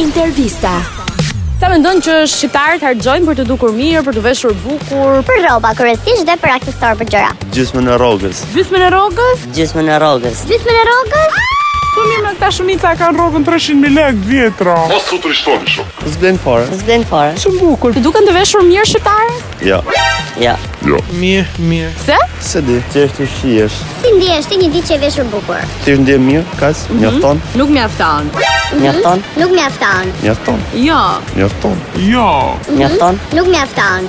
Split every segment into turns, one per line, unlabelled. Intervista.
Sa mendon që shqiptarët harxojnë për të dukur mirë, për të veshur bukur?
për rroba kryesisht dhe për aksesorë për gjëra.
Gjysmën e rrogës.
Gjysmën e rrogës?
Gjysmën e rrogës.
Gjithmonë e rrogës?
Po mirë, me këta shumica kanë rrogën
300.000 lek vjetra.
Mos të trishton shumë.
Zblen fare.
Zblen fare.
Shumë bukur.
Të duken të veshur mirë shqiptarët?
Jo.
Ja.
Mirë, mirë.
Pse?
Se di. Ti është i shihesh.
Si ndihesh ti një ditë që e veshur bukur?
Ti është ndje mirë, kaç? Mjafton,
Nuk mjafton.
Mjafton,
Nuk mjafton.
mjafton,
Jo.
mjafton.
Jo.
mjafton.
Nuk mjafton.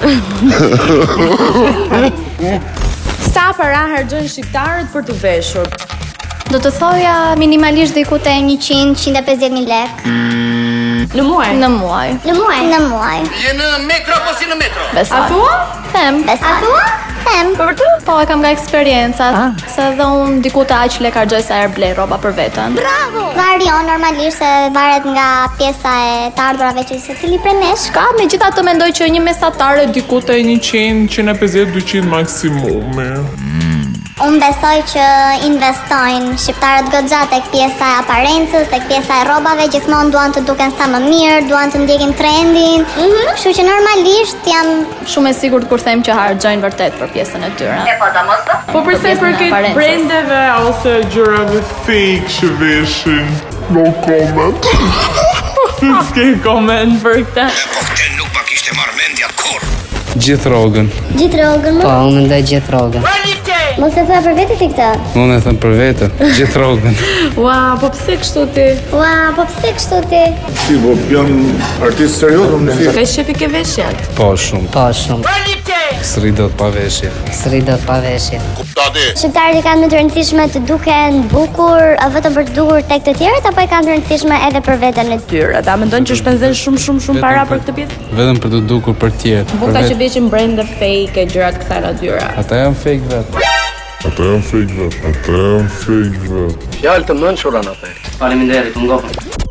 Sa para harxojnë shqiptarët për të veshur?
Do të thoja minimalisht diku te 100 150 mijë lekë
Në muaj?
Në muaj.
në muaj. Në muaj.
Besoj.
A thua?
Them.
Besa. A thua? Them.
Për vërtet? Po, e kam nga eksperienca. Se dhe unë diku të aq lek harxoj sa herë blej rroba për veten.
Bravo. Varion normalisht se varet nga pjesa e të ardhurave që secili prej nesh
Ka, me gjitha të mendoj që një mesatare diku të
100, 150, 200 maksimumi.
Unë besoj që investojnë shqiptarët goxha tek pjesa e aparencës, tek pjesa e rrobave, gjithmonë duan të duken sa më mirë, duan të ndjekin trendin. Kështu që normalisht jam
shumë e sigurt kur them që harxojnë vërtet për pjesën e tyre.
Po përse
pjesën e
për këtë
aparencës.
brendeve ose
Gjërave fake që veshin. No comment.
s'ke koment për këtë?
Gjithë rogën.
gjithë rrogën
Po, unë mendoj gjithë rrogën.
Mos e thua për vete ti këtë.
Unë e thëmë për vete. Gjithë rogën.
Ua, po pse kështu ti?
Ua, po pse kështu ti?
Si, po jam artist serioz, unë si.
Ka shefi ke veshjet?
Po shumë.
Po, shumë.
Sri do të paveshje.
Sri do të paveshje.
Shqiptarët i kanë më të rëndësishme të duken bukur, a vetëm për të dukur tek të tjerët apo i kanë të rëndësishme edhe për veten e ty?
Tyra, ta mendon që shpenzojnë shumë shumë shumë para për këtë pjesë?
Vetëm për të dukur për tjerë.
Buka po, që veshin brende fake e gjërat kësaj natyre.
Ata janë fake vetë.
Ata janë fake vet. Ata janë fake vet.
Fjalë të mençura në the.
Faleminderit, u ngopëm.